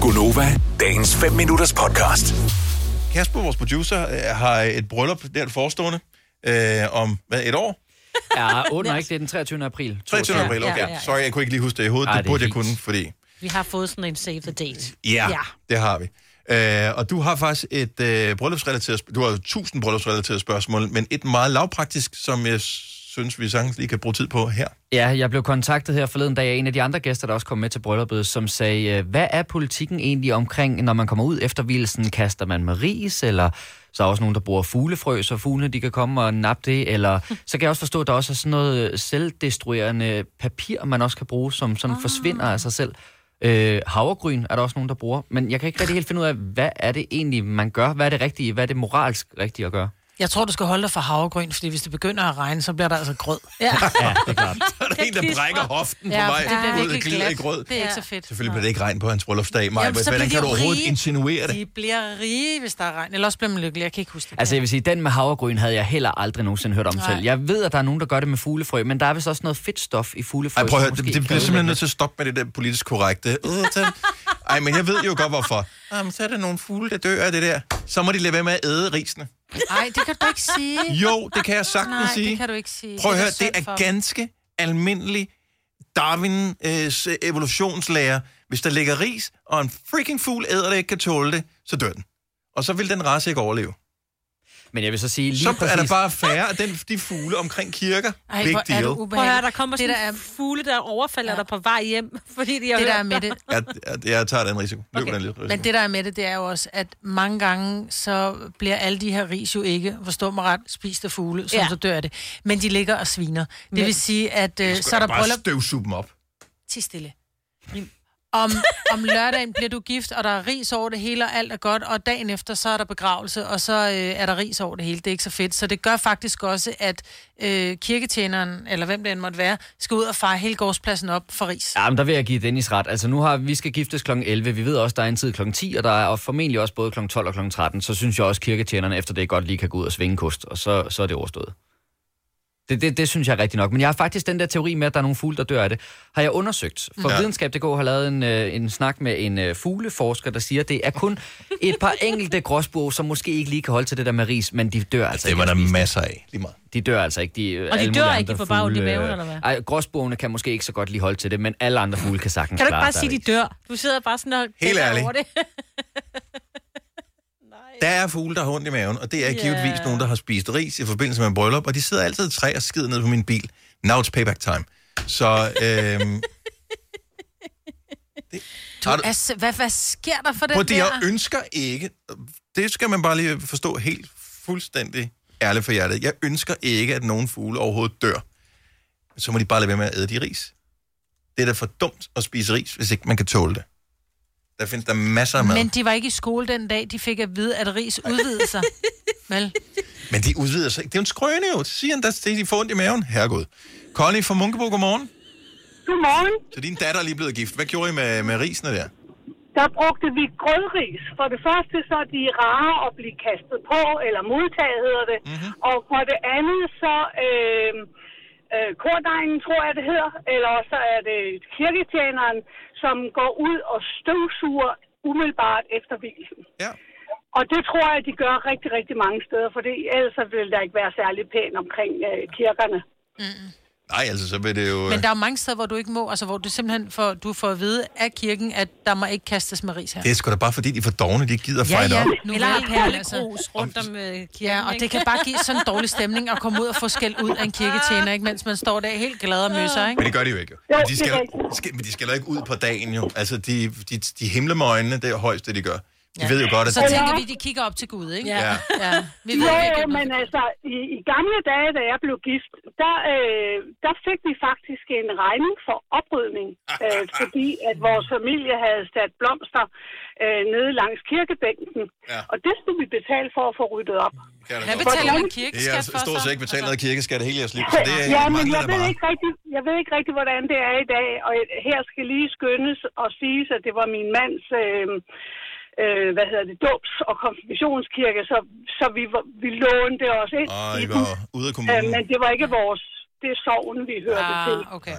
Gunova, dagens 5 minutters podcast. Kasper, vores producer, øh, har et bryllup der det forestående øh, om hvad, et år? Ja, under ikke, det er den 23. april. 23. Ja, april, ja, okay. ja, ja. Sorry, jeg kunne ikke lige huske det i hovedet. Ej, det det er burde jeg fint. kunne, fordi... Vi har fået sådan en save the date. Ja, Ja. det har vi. Øh, og du har faktisk et øh, bryllupsrelateret... sp- Du har jo tusind bryllupsrelaterede spørgsmål, men et meget lavpraktisk, som jeg synes, vi sagtens lige kan bruge tid på her. Ja, jeg blev kontaktet her forleden dag af en af de andre gæster, der også kom med til brylluppet, som sagde, øh, hvad er politikken egentlig omkring, når man kommer ud efter hvilesen, kaster man med ris, eller så er der også nogen, der bruger fuglefrø, så fuglene de kan komme og nappe det, eller så kan jeg også forstå, at der også er sådan noget øh, selvdestruerende papir, man også kan bruge, som sådan ah. forsvinder af sig selv. Øh, havregryn er der også nogen, der bruger, men jeg kan ikke rigtig helt finde ud af, hvad er det egentlig, man gør? Hvad er det rigtige? Hvad er det moralsk rigtige at gøre? Jeg tror, du skal holde dig for havregryn, fordi hvis det begynder at regne, så bliver der altså grød. Ja. Ja, det er klart. Der er en, der brækker hoften Ja, på vej. for det bliver ud af virkelig glider i glat. grød. Det er ja. ikke Ja. så fedt. Selvfølgelig bliver det ikke regn på hans bryllupsdag, Maja. Jamen, så Hvordan bliver kan de du jo overhovedet rige. insinuere det? De bliver rige, hvis der er regn. Eller også bliver man lykkelig. Jeg kan ikke huske det. Altså jeg vil sige, den med havregryn havde jeg heller aldrig nogensinde hørt om Nej. selv. Jeg ved, at der er nogen, der gør det med fuglefrø, men der er vist også noget fedtstof i fuglefrø. Ej, prøv at som høre, det, måske det kan bliver simpelthen ødelægge nødt til at stoppe med det der politisk korrekte. Øh, tag- Ej, men jeg ved jo godt, hvorfor. Jamen, så er der nogle fugle, der dør af det der. Så må de lade være med at æde risene. Nej, det kan du ikke sige. Jo, det kan jeg sagtens Nej, sige. det kan du ikke sige. Prøv at Det er høre, det synd er for dem. ganske almindelig Darwins øh, evolutionslære. Hvis der ligger ris, og en freaking fugl æder det ikke kan tåle det, så dør den. Og så vil den race ikke overleve. det. Men jeg vil så sige lige Så præcis... er der bare færre af den, de fugle omkring kirker. Ej, Big hvor er deal. Prøv du at høre, ubehageligt. der kommer det, sådan der er, en fugle, der overfalder Ja. dig på vej hjem, fordi de har det, der er hørt med dig. det. Jeg, jeg, jeg tager den risiko. Løb Okay. den lidt risiko. Men det, der er med det, det er jo også, at mange gange, så bliver alle de her ris jo ikke, forstå mig ret, spist af fugle, som Ja. ja. så dør af det. Men de ligger og sviner. Det Men- vil sige, at øh, Skal så er jeg der bare bryllup... støvsuge dem op. Til stille. Om, om lørdagen bliver du gift, og der er ris over det hele, og alt er godt, og dagen efter, så er der begravelse, og så øh, er der ris over det hele. Det er ikke så fedt. Så det gør faktisk også, at øh, kirketjeneren, eller hvem det end måtte være, skal ud og fare hele gårdspladsen op for ris. Ja, men der vil jeg give Dennis ret. Altså nu har vi skal giftes kl. 11. Vi ved også, der er en tid kl. 10, og der er og formentlig også både kl. 12 og kl. 13. Så synes jeg også, kirketjenerne efter det godt lige kan gå ud og svinge kost, og så, så er det overstået. Det, det, det synes jeg er rigtigt nok. Men jeg har faktisk den der teori med, at der er nogle fugle, der dør af det, har jeg undersøgt. For Ja. ja. Videnskab.dk har lavet en, øh, en snak med en øh, fugleforsker, der siger, at det er kun et par enkelte gråsbog, som måske ikke lige kan holde til det der med ris, men de dør altså Det ikke. var der masser af, lige meget. De dør altså ikke. De, Og de alle dør mulige ikke, de andre får bare ondt i fugle, maven, øh, eller hvad? Ej, gråsbogene kan måske ikke så godt lige holde til det, men alle andre fugle kan sagtens Kan du ikke klare bare sig sige, de ikke? dør? Du sidder bare sådan og tænker ærlig. over det. Der er fugle, der har ondt i maven, og det er Ja. yeah. givetvis nogen, der har spist ris i forbindelse med en bryllup, og de sidder altid i træ og skider ned på min bil. Now it's payback time. Så øhm, Du, Har du- altså, hvad, hvad sker der for den på det, der? jeg ønsker ikke, det skal man bare lige forstå helt fuldstændig ærligt for hjertet. Jeg ønsker ikke, at nogen fugle overhovedet dør. Så må de bare lade være med at æde de ris. Det er da for dumt at spise ris, hvis ikke man kan tåle det. Der findes der masser af mad. Men de var ikke i skole den dag, de fik at vide, at ris udvidede sig. Vel? Men de udvider sig ikke. Det er jo en skrøne jo. Så siger han, der de får ondt i maven. Herregud. Connie fra Munkebo, godmorgen. Godmorgen. Så din datter er lige blevet gift. Hvad gjorde I med, med risene der? Der brugte vi grødris. For det første så er de rare at blive kastet på, eller modtaget hedder det. Mm-hmm. Og for det andet så øh, øh, kordejen, tror jeg det hedder, eller så er det kirketjeneren, som går ud og støvsuger umiddelbart efter hvilsen. Ja. Og det tror jeg, de gør rigtig, rigtig mange steder, for det, ellers så vil der ikke være særlig pæn omkring øh, kirkerne. Nej, altså, så vil det jo... Men der er jo mange steder, hvor du ikke må, altså hvor du simpelthen får, du får at vide af kirken, at der må ikke kastes med ris her. øh, Det er sgu da bare fordi, de er for dogne, de ikke gider ja, fight ja, op. nu Eller har vel, altså. altså. perlegrus rundt om øh, kirken. Ja, og ikke? det kan bare give sådan en dårlig stemning at komme ud og få skæld ud af en kirketjener, ikke? mens man står der helt glad og møsser, ikke? Men det gør de jo ikke. Jo, Men det de er skal, rigtigt. skal, men de skal jo ikke ud på dagen jo. Altså, de, de, de himler med øjnene, det er højst, det de gør. De ved jo godt, at... Så det- tænker vi, de kigger op til Gud, ikke? Ja. ja. Vi Jo, ved jo, ikke, men altså, i, i gamle dage, da jeg blev gift, der, øh, der fik vi faktisk en regning for oprydning, øh, fordi at vores familie havde sat blomster øh, nede langs kirkebænken, Ja. ja. og det skulle vi betale for at få ryddet op. Kan jeg da Hvad godt betaler forstå. man kirkeskat Jeg for altså. har altså- stort så? set ikke betalt noget kirkeskat i hele jeres liv, så det øh, ja, men mangler jeg der ved, meget. ikke rigtig, jeg ved ikke rigtig, hvordan det er i dag, og her skal lige skyndes og siges, at det var min mands... Øh, øh, hvad hedder det, dåbs- og konfirmationskirke, så, så vi, var- vi lånte os ind Åh, i I den. var ude af Øh, kommunen. men det var ikke vores. Det er sorgen, vi hørte ah. til. Ah, okay.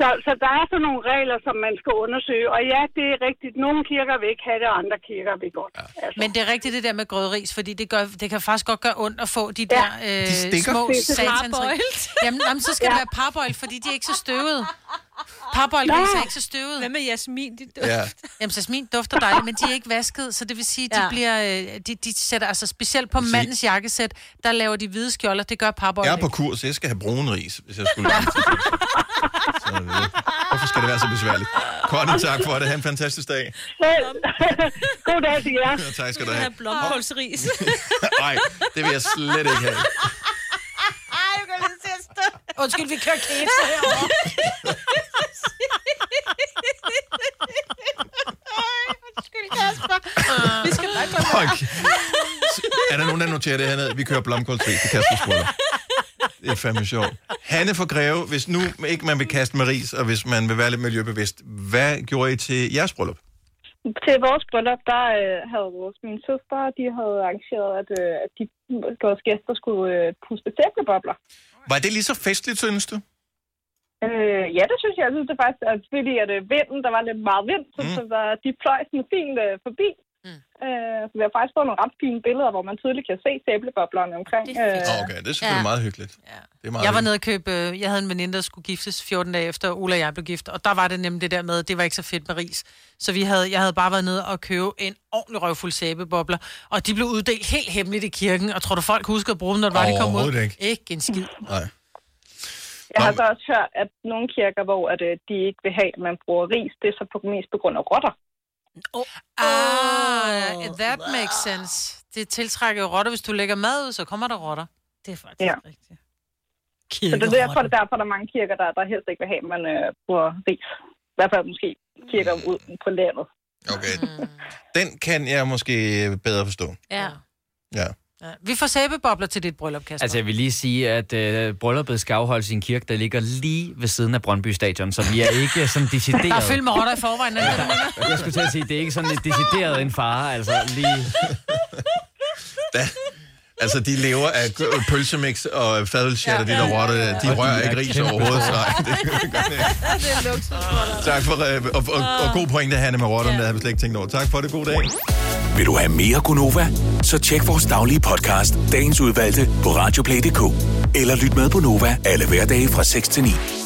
Så, så der er sådan nogle regler, som man skal undersøge. Og ja, det er rigtigt. Nogle kirker vil ikke have det, og andre kirker vil godt. Ja. Altså, Men det er rigtigt det der med grødris, fordi det, gør, det kan faktisk godt gøre ondt at få de der øh, stikker. små Det er så satansrig. Parboiled. Jamen, jamen, så skal ja. det være parboil, fordi de er ikke så støvede. Parboil er ikke så Hvad støvede. med jasmin? Det Ja. Jamen, sasmin dufter dejligt, men de er ikke vasket, så det vil sige, de Ja. ja. bliver, øh, de, de sætter, altså specielt på mandens jakkesæt, der laver de hvide skjolder, det gør parboil Jeg er ikke. på kurs, jeg skal have brun ris, hvis jeg skulle. så, øh, hvorfor skal det være så besværligt? Connie, tak for det. Ha' en fantastisk dag. selv. God dag til jer. Ja, tak skal skal du du have. have blomkålsris. Nej, det vil jeg slet ikke have. Undskyld, vi kører kæse herovre. Vi skal bare gå. Okay. Er der nogen, der noterer det hernede? Vi kører blomkålsfri til Kasper Skrøller. Det er fandme sjovt. Hanne for Greve, hvis nu ikke man vil kaste med ris, og hvis man vil være lidt miljøbevidst, hvad gjorde I til jeres bryllup? Til vores bryllup, der øh, havde vores, mine søstre, de havde arrangeret, at, øh, at de, vores gæster skulle øh, puste tæppebobler. Var det lige så festligt, synes du? Øh, ja, det synes jeg. Jeg synes det faktisk, at fordi at øh, vinden, der var lidt meget vind, så, Mm. mm. så der, de fløj sådan fint øh, forbi. Mm. Mm. Øh, så vi har faktisk fået nogle ret fine billeder, hvor man tydeligt kan se sæbleboblerne omkring. Det er fedt. Øh, Åh, Okay, det er selvfølgelig Ja. meget hyggeligt. Ja. Det er meget Jeg var hyggeligt. nede og købe, øh, jeg havde en veninde, der skulle giftes 14 dage efter, Ola og jeg blev gift, og der var det nemlig det der med, det var ikke så fedt med ris. Så vi havde, jeg havde bare været nede og købe en ordentlig røvfuld sæbebobler, og de blev uddelt helt hemmeligt i kirken, og tror du folk husker at bruge dem, når det var, de kom ud? Overhovedet ikke. Ikke en skid. Nej. jeg har Nå, så også hørt, at nogle kirker, hvor at, øh, de ikke vil have, at man bruger ris, det er så på, mest på grund af rotter. Ah, that makes sense. Det tiltrækker jo rotter. Hvis du lægger mad ud, så kommer der rotter. Det er faktisk Ja. rigtigt. Så det er derfor, det er derfor, der er mange kirker, der, der helst ikke vil have, at man øh, bruger ris. I hvert fald måske kirker ud på landet. Okay. Den kan jeg måske bedre forstå. Ja. Ja. Ja. Vi får sæbebobler til dit bryllup, Kasper. Altså, jeg vil lige sige, at øh, brylluppet skal afholdes i en kirke, der ligger lige ved siden af Brøndby Stadion, så vi er ikke sådan der er decideret. fyldt med rotter i forvejen. er det det, du mener? Jeg skulle til at sige, det er ikke sådan et decideret en fare, altså lige... Da, altså, de lever af g- pølsemix og fadølshatter, ja, ja, de der rotter, der. de Og de rører er ikke ris kæmpe overhovedet. Nej, det gør de ikke. Det er luksus. Tak for, øh, og, og, og god pointe, Hanne, med rotterne, der havde vi slet ikke tænkt over. Tak for det, god dag. Vil du have mere Gunova? Så tjek vores daglige podcast, dagens udvalgte, på radioplay.dk. Eller lyt med på Nova alle hverdage fra 6 til 9.